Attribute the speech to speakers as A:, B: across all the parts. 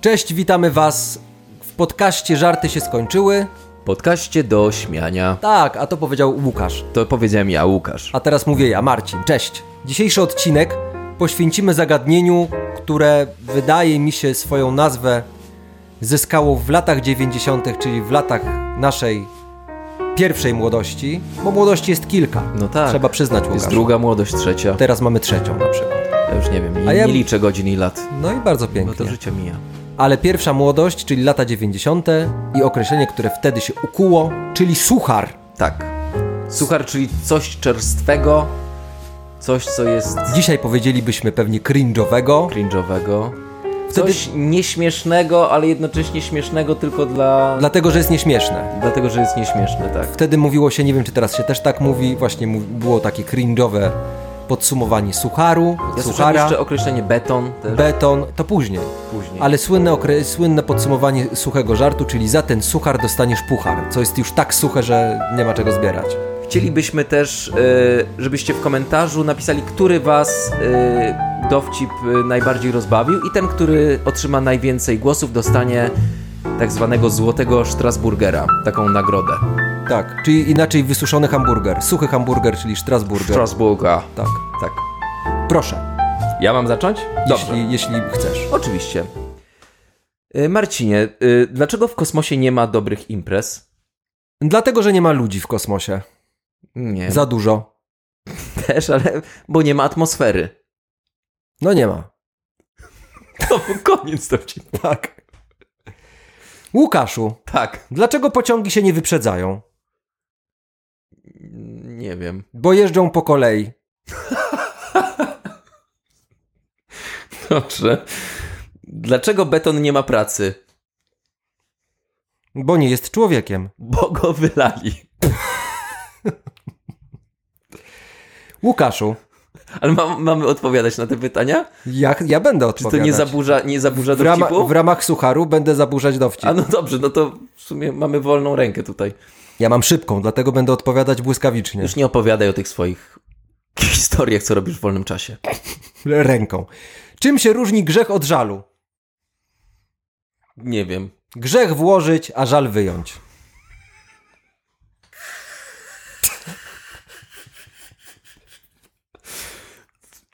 A: Cześć, witamy Was w podcaście Żarty się skończyły.
B: Podkaście do śmiania.
A: Tak, a to powiedział Łukasz.
B: To powiedziałem ja, Łukasz.
A: A teraz mówię ja, Marcin. Cześć. Dzisiejszy odcinek poświęcimy zagadnieniu, które wydaje mi się swoją nazwę zyskało w latach 90., czyli w latach naszej pierwszej młodości, bo młodości jest kilka.
B: No tak.
A: Trzeba przyznać, Łukasz.
B: Jest druga młodość, trzecia.
A: Teraz mamy trzecią na przykład.
B: Ja już nie wiem,
A: A
B: nie,
A: ja-
B: nie liczę godzin i lat.
A: No i bardzo
B: Bo to
A: pięknie.
B: życie mija.
A: Ale pierwsza młodość, czyli lata 90. i określenie, które wtedy się ukuło, czyli suchar.
B: Tak. Suchar, czyli coś czerstwego, coś, co jest
A: Dzisiaj powiedzielibyśmy pewnie cringe'owego.
B: cringe'owego,
A: Wtedy-
B: coś nieśmiesznego, ale jednocześnie śmiesznego tylko dla...
A: Dlatego, że jest nieśmieszne.
B: Dlatego, że jest nieśmieszne, tak.
A: Wtedy mówiło się, nie wiem czy teraz się też tak mówi, właśnie mu- było takie cringe'owe podsumowanie sucharu,
B: Ja słyszałem
A: suchara,
B: jeszcze określenie beton też
A: beton, to później.
B: później.
A: Ale słynne, okre- słynne podsumowanie suchego żartu, czyli za ten suchar dostaniesz puchar, co jest już tak suche, że nie ma czego zbierać.
B: Chcielibyśmy też, e, żebyście w komentarzu napisali, który was e, dowcip e, najbardziej rozbawił i ten, który otrzyma najwięcej głosów dostanie tak zwanego złotego Strasburgera, taką nagrodę.
A: Tak, czyli inaczej wysuszony hamburger, suchy hamburger, czyli Strasburger.
B: Strasburga.
A: tak,
B: Tak.
A: proszę,
B: Ja mam zacząć?
A: jeśli, jeśli chcesz.
B: Oczywiście. E, Marcinie, e, dlaczego w kosmosie nie ma dobrych imprez?
A: Dlatego, że nie ma ludzi w kosmosie.
B: Nie,
A: Za dużo.
B: też, ale bo nie ma atmosfery.
A: No nie ma.
B: To był koniec dowcipu.
A: Tak. Łukaszu,
B: Tak.
A: dlaczego pociągi się nie wyprzedzają?
B: Nie wiem.
A: Bo jeżdżą po kolei.
B: Dobrze. Dlaczego beton nie ma pracy?
A: Bo nie jest człowiekiem.
B: Bo go wylali.
A: Łukaszu,
B: Ale mam, mamy odpowiadać na te pytania?
A: ja, ja będę
B: Czy to
A: odpowiadać.
B: nie zaburza, nie zaburza
A: w, rama,
B: dowcipu?
A: w ramach sucharu będę zaburzać dowcip.
B: A no dobrze, no to w sumie mamy wolną rękę tutaj.
A: Ja mam szybką, dlatego będę odpowiadać błyskawicznie.
B: Już nie opowiadaj o tych swoich historiach, co robisz w wolnym czasie.
A: Ręką. Czym się różni grzech od żalu?
B: Nie wiem.
A: Grzech włożyć, a żal wyjąć.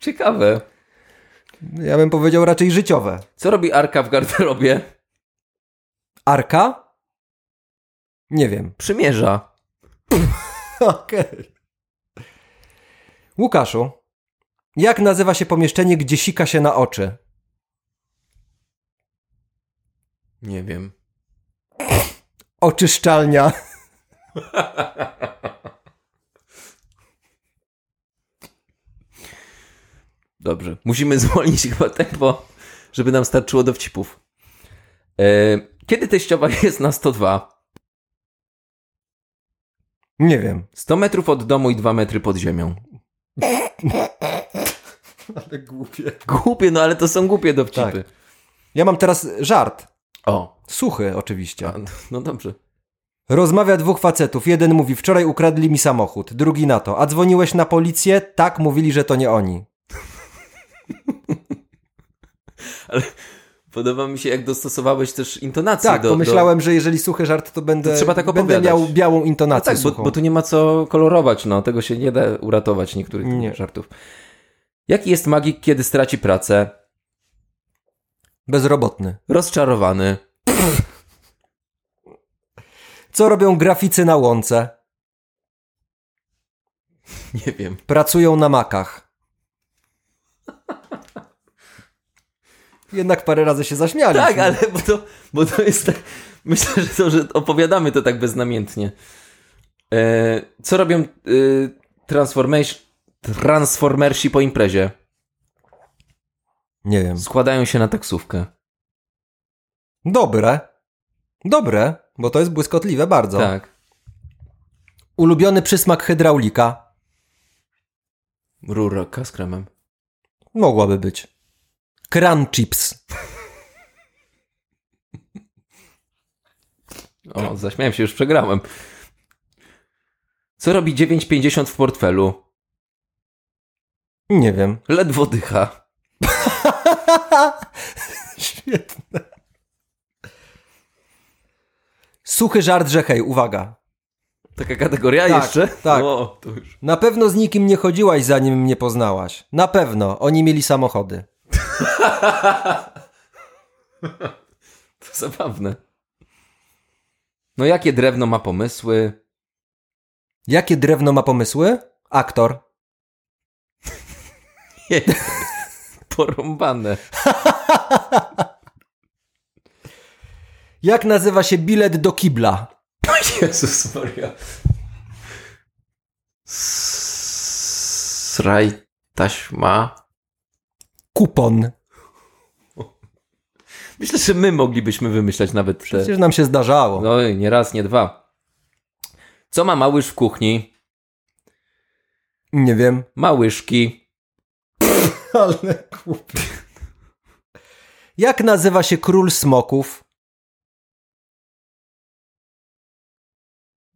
B: Ciekawe.
A: Ja bym powiedział raczej życiowe.
B: Co robi Arka w garderobie?
A: Arka? Nie wiem.
B: Przymierza.
A: Okej. Łukaszu, jak nazywa się pomieszczenie, gdzie sika się na oczy?
B: Nie wiem.
A: Oczyszczalnia.
B: Dobrze. Musimy zwolnić chyba tempo, żeby nam starczyło dowcipów. E, kiedy teściowa jest na 102?
A: Nie wiem.
B: 100 metrów od domu i 2 metry pod ziemią.
A: Ale głupie.
B: Głupie, no ale to są głupie dowcipy.
A: Tak. Ja mam teraz żart.
B: O,
A: Suchy oczywiście.
B: a, no dobrze.
A: Rozmawia dwóch facetów. Jeden mówi, wczoraj ukradli mi samochód. Drugi na to, a dzwoniłeś na policję? Tak, mówili, że to nie oni.
B: Podoba mi się, jak dostosowałeś też intonację
A: Tak,
B: do...
A: pomyślałem, że jeżeli suchy żart, to będę,
B: To trzeba tak
A: będę
B: opowiadać.
A: miał białą
B: Do... No
A: intonację
B: tak, bo,
A: suchą.
B: bo tu nie ma co kolorować, no. Tego się nie da uratować niektórych
A: Nie.
B: żartów. Jaki jest magik, kiedy straci pracę?
A: Bezrobotny.
B: Rozczarowany.
A: Co robią graficy na łące?
B: Nie wiem.
A: Pracują na makach. Jednak parę razy się zaśmialiśmy.
B: Tak, ale bo to, bo to jest tak... Myślę, że to, że opowiadamy to tak beznamiętnie. E, co robią e, transformers- transformersi po imprezie?
A: Nie wiem.
B: Składają się na taksówkę.
A: Dobre. Dobre, bo to jest błyskotliwe bardzo.
B: Tak.
A: Ulubiony przysmak hydraulika.
B: Rurka z kremem.
A: Mogłaby być. Crunch chips.
B: O, zaśmiałem się, już przegrałem. Co robi 9,50 w portfelu?
A: Nie wiem.
B: Ledwo dycha.
A: Świetne. Suchy żart, że hej, uwaga.
B: Taka kategoria
A: Tak,
B: jeszcze?
A: tak.
B: O, to już.
A: Na pewno z nikim nie chodziłaś, zanim mnie poznałaś. Na pewno, oni mieli samochody.
B: To zabawne. No jakie drewno ma pomysły?
A: Jakie drewno ma pomysły? Aktor.
B: Porąbane.
A: Jak nazywa się bilet do kibla?
B: Jezus Maria. Sraj taśma.
A: Kupon.
B: Myślę, że my moglibyśmy wymyślać nawet te...
A: Przecież nam się zdarzało.
B: No i nie raz, nie dwa. Co ma małyż w kuchni?
A: Nie wiem.
B: Małyżki.
A: Ale kup. Jak nazywa się król smoków?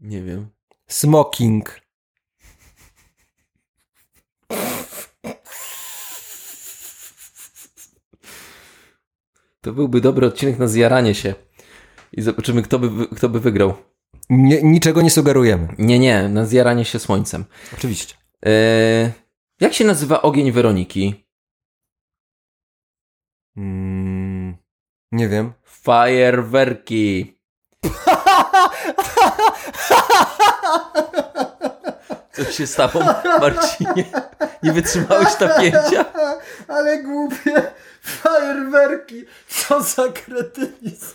B: Nie wiem.
A: Smoking.
B: To byłby dobry odcinek na zjaranie się. I zobaczymy, kto by, wy- kto by wygrał.
A: Nie, niczego nie sugerujemy.
B: Nie, nie, na zjaranie się słońcem.
A: Oczywiście.
B: Eee, jak się nazywa ogień Weroniki?
A: Mm, nie wiem.
B: Fajerwerki. Co się stało, Marcinie? Nie wytrzymałeś napięcia?
A: Ale głupie fajerwerki. Co za kretynizm.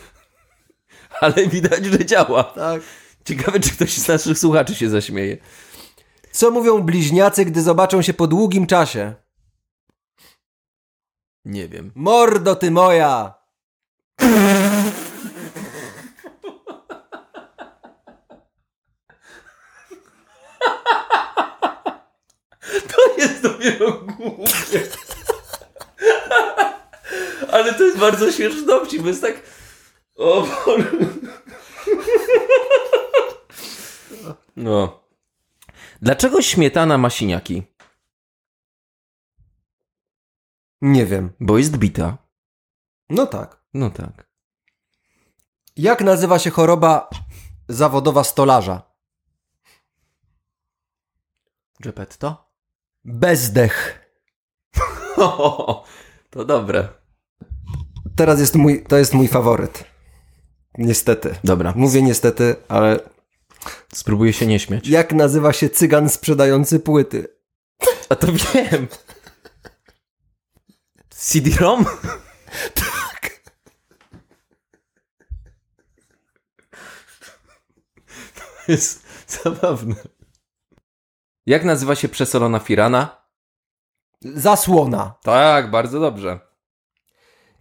B: Ale widać, że działa.
A: Tak.
B: Ciekawe, czy ktoś z naszych słuchaczy się zaśmieje.
A: Co mówią bliźniacy, gdy zobaczą się po długim czasie?
B: Nie wiem.
A: Mordo ty moja!
B: To jest dopiero głupie. Ale to jest bardzo śmieszny dowcip, bo jest tak... O Boże. No. Dlaczego śmietana ma siniaki?
A: Nie wiem.
B: Bo jest bita.
A: No tak.
B: No tak.
A: Jak nazywa się choroba zawodowa stolarza?
B: Geppetto?
A: Bezdech.
B: To dobre.
A: Teraz jest mój, to jest mój faworyt. Niestety.
B: Dobra,
A: Mówię niestety, ale
B: spróbuję się nie śmiać.
A: jak nazywa się cygan sprzedający płyty?
B: A to wiem. CD-ROM?
A: Tak.
B: Jest zabawne. Jak nazywa się przesolona firana?
A: Zasłona.
B: Tak, bardzo dobrze.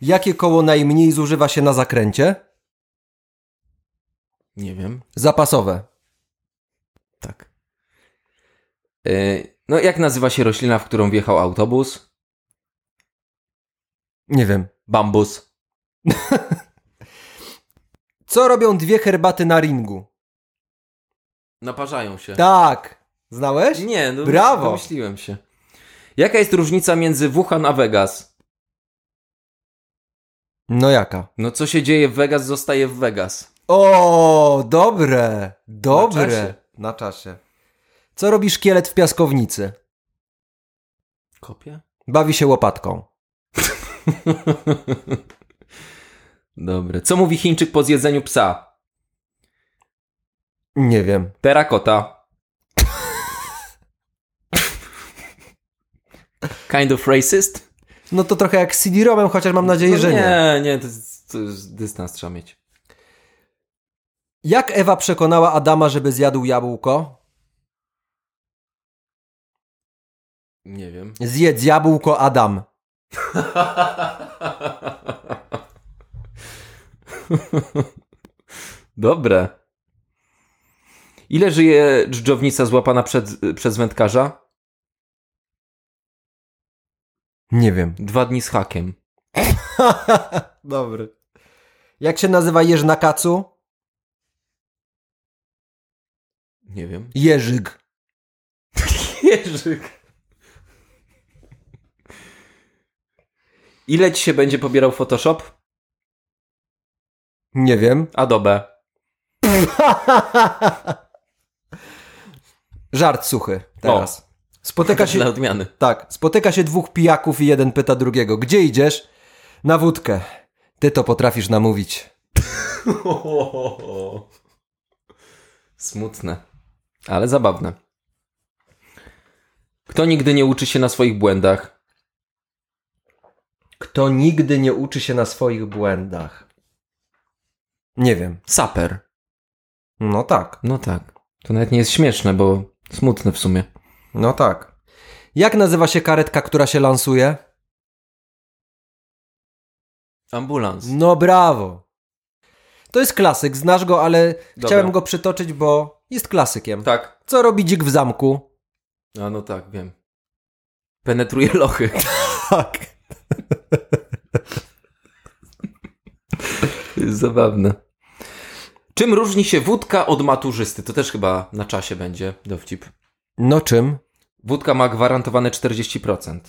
A: Jakie koło najmniej zużywa się na zakręcie?
B: Nie wiem.
A: Zapasowe.
B: Tak. Yy, no, jak nazywa się roślina, w którą wjechał autobus?
A: Nie wiem.
B: Bambus.
A: Co robią dwie herbaty na ringu?
B: Naparzają się.
A: Tak. Znałeś?
B: Nie, no
A: Brawo.
B: domyśliłem się. Jaka jest różnica między Wuhan a Vegas?
A: No jaka?
B: No co się dzieje w Vegas, zostaje w Vegas.
A: O, dobre. Dobre.
B: Na czasie.
A: Na czasie. Co robi szkielet w piaskownicy?
B: Kopia?
A: Bawi się łopatką.
B: Dobre. Co mówi Chińczyk po zjedzeniu psa?
A: Nie wiem.
B: Terakota. kind of racist?
A: No to trochę jak z CD-ROMem, chociaż mam nadzieję,
B: No
A: że nie.
B: nie, nie, to, jest- to jest dystans trzeba mieć.
A: Jak Ewa przekonała Adama, żeby zjadł jabłko?
B: Nie wiem.
A: Zjedz jabłko, Adam.
B: Dobre. Ile żyje dżdżownica złapana przed, przez wędkarza?
A: Nie wiem.
B: Dwa dni z hakiem.
A: Dobry. Jak się nazywa jeż na kacu?
B: Nie wiem.
A: Jerzyk.
B: Jerzyk. Ile ci się będzie pobierał Photoshop?
A: Nie wiem.
B: Adobe.
A: Żart suchy teraz. Spotyka się...
B: Dla odmiany.
A: Tak, spotyka się dwóch pijaków i jeden pyta drugiego. Gdzie idziesz? Na wódkę. Ty to potrafisz namówić.
B: Smutne, ale zabawne. Kto nigdy nie uczy się na swoich błędach?
A: Kto nigdy nie uczy się na swoich błędach? Nie wiem.
B: Saper.
A: No tak,
B: No tak. To nawet nie jest śmieszne, bo smutne w sumie.
A: no tak. Jak nazywa się karetka, która się lansuje?
B: Ambulans.
A: No brawo. To jest klasyk, znasz go, ale chciałem go przytoczyć, bo jest klasykiem.
B: Tak.
A: Co robi dzik w zamku?
B: A no tak, wiem. Penetruje lochy.
A: Tak.
B: To jest Zabawne. Czym różni się wódka od maturzysty? To też chyba na czasie będzie dowcip.
A: No czym?
B: Wódka ma gwarantowane 40%.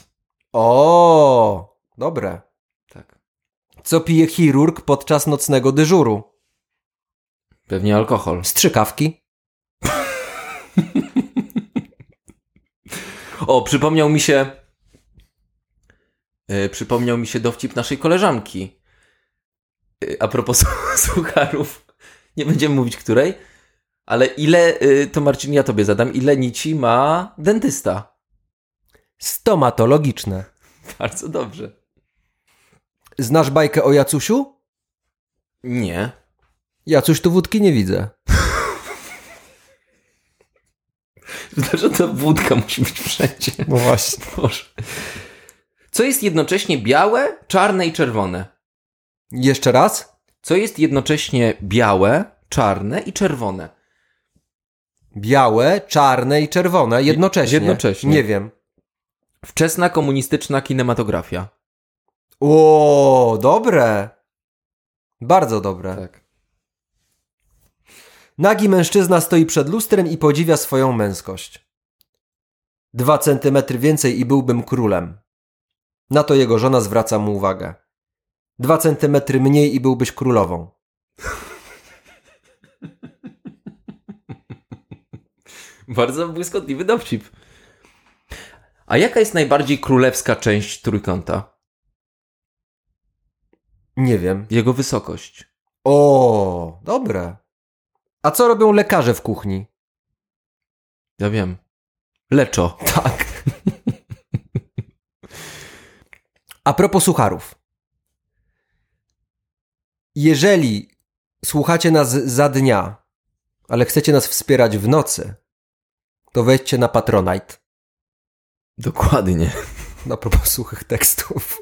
A: O, dobre.
B: Tak.
A: Co pije chirurg podczas nocnego dyżuru?
B: Pewnie alkohol.
A: Strzykawki.
B: O, przypomniał mi się. Yy, przypomniał mi się dowcip naszej koleżanki. Yy, a propos sucharów. Nie będziemy mówić której. Ale ile, yy, to Marcin, ja tobie zadam, ile nici ma dentysta?
A: Stomatologiczne.
B: Bardzo dobrze.
A: Znasz bajkę o Jacusiu?
B: Nie.
A: Jacuś tu wódki nie widzę.
B: Dlaczego ta wódka musi być wszędzie?
A: No właśnie.
B: Boże. Co jest jednocześnie białe, czarne i czerwone?
A: Jeszcze raz?
B: Co jest jednocześnie białe, czarne i czerwone?
A: Białe, czarne i czerwone jednocześnie.
B: jednocześnie.
A: Nie wiem.
B: Wczesna komunistyczna kinematografia.
A: O, dobre. Bardzo dobre.
B: Tak.
A: Nagi mężczyzna stoi przed lustrem i podziwia swoją męskość. Dwa centymetry więcej i byłbym królem. Na to jego żona zwraca mu uwagę. Dwa centymetry mniej i byłbyś królową.
B: Bardzo błyskotliwy dowcip. A jaka jest najbardziej królewska część trójkąta?
A: Nie wiem.
B: Jego wysokość.
A: O, dobre. A co robią lekarze w kuchni?
B: Ja wiem. Leczo.
A: Tak. A propos sucharów. Jeżeli słuchacie nas za dnia, ale chcecie nas wspierać w nocy, to wejdźcie na Patronite.
B: Dokładnie.
A: A propos suchych tekstów.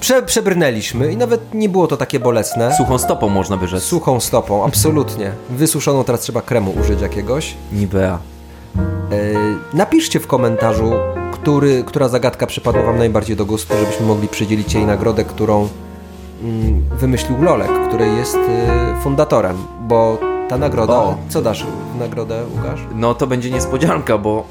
A: Prze przebrnęliśmy i nawet nie było to takie bolesne.
B: Suchą stopą można wyrzec. Su-
A: Suchą stopą, absolutnie. Wysuszoną teraz trzeba kremu użyć jakiegoś. E,
B: Nivea.
A: Napiszcie w komentarzu, który, która zagadka przypadła Wam najbardziej do gustu, żebyśmy mogli przydzielić jej nagrodę, którą mm, wymyślił Lolek, który jest e, fundatorem, bo ta nagroda...
B: O.
A: Co dasz w nagrodę, Łukasz?
B: No to będzie niespodzianka, bo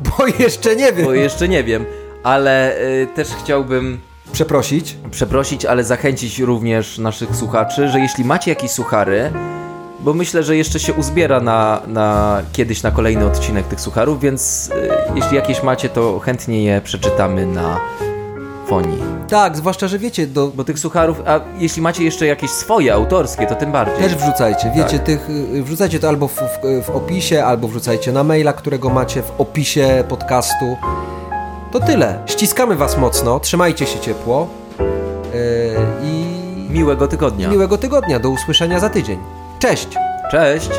A: Bo jeszcze nie wiem.
B: Bo jeszcze nie wiem, ale y, też chciałbym
A: Przeprosić?
B: przeprosić, ale zachęcić również naszych słuchaczy, że jeśli macie jakieś suchary, bo myślę, że jeszcze się uzbiera na, na kiedyś na kolejny odcinek tych sucharów, więc y, jeśli jakieś macie, to chętnie je przeczytamy na fonii.
A: Tak, zwłaszcza, że wiecie, do...
B: Bo tych sucharów, a jeśli macie jeszcze jakieś swoje autorskie, to tym bardziej.
A: Też wrzucajcie, wiecie, tych, y, wrzucajcie to albo w, w, w opisie, albo wrzucajcie na maila, którego macie w opisie podcastu. To tyle. Ściskamy Was mocno, trzymajcie się ciepło y, i
B: Miłego tygodnia.
A: Miłego tygodnia, do usłyszenia za tydzień. Cześć!
B: Cześć!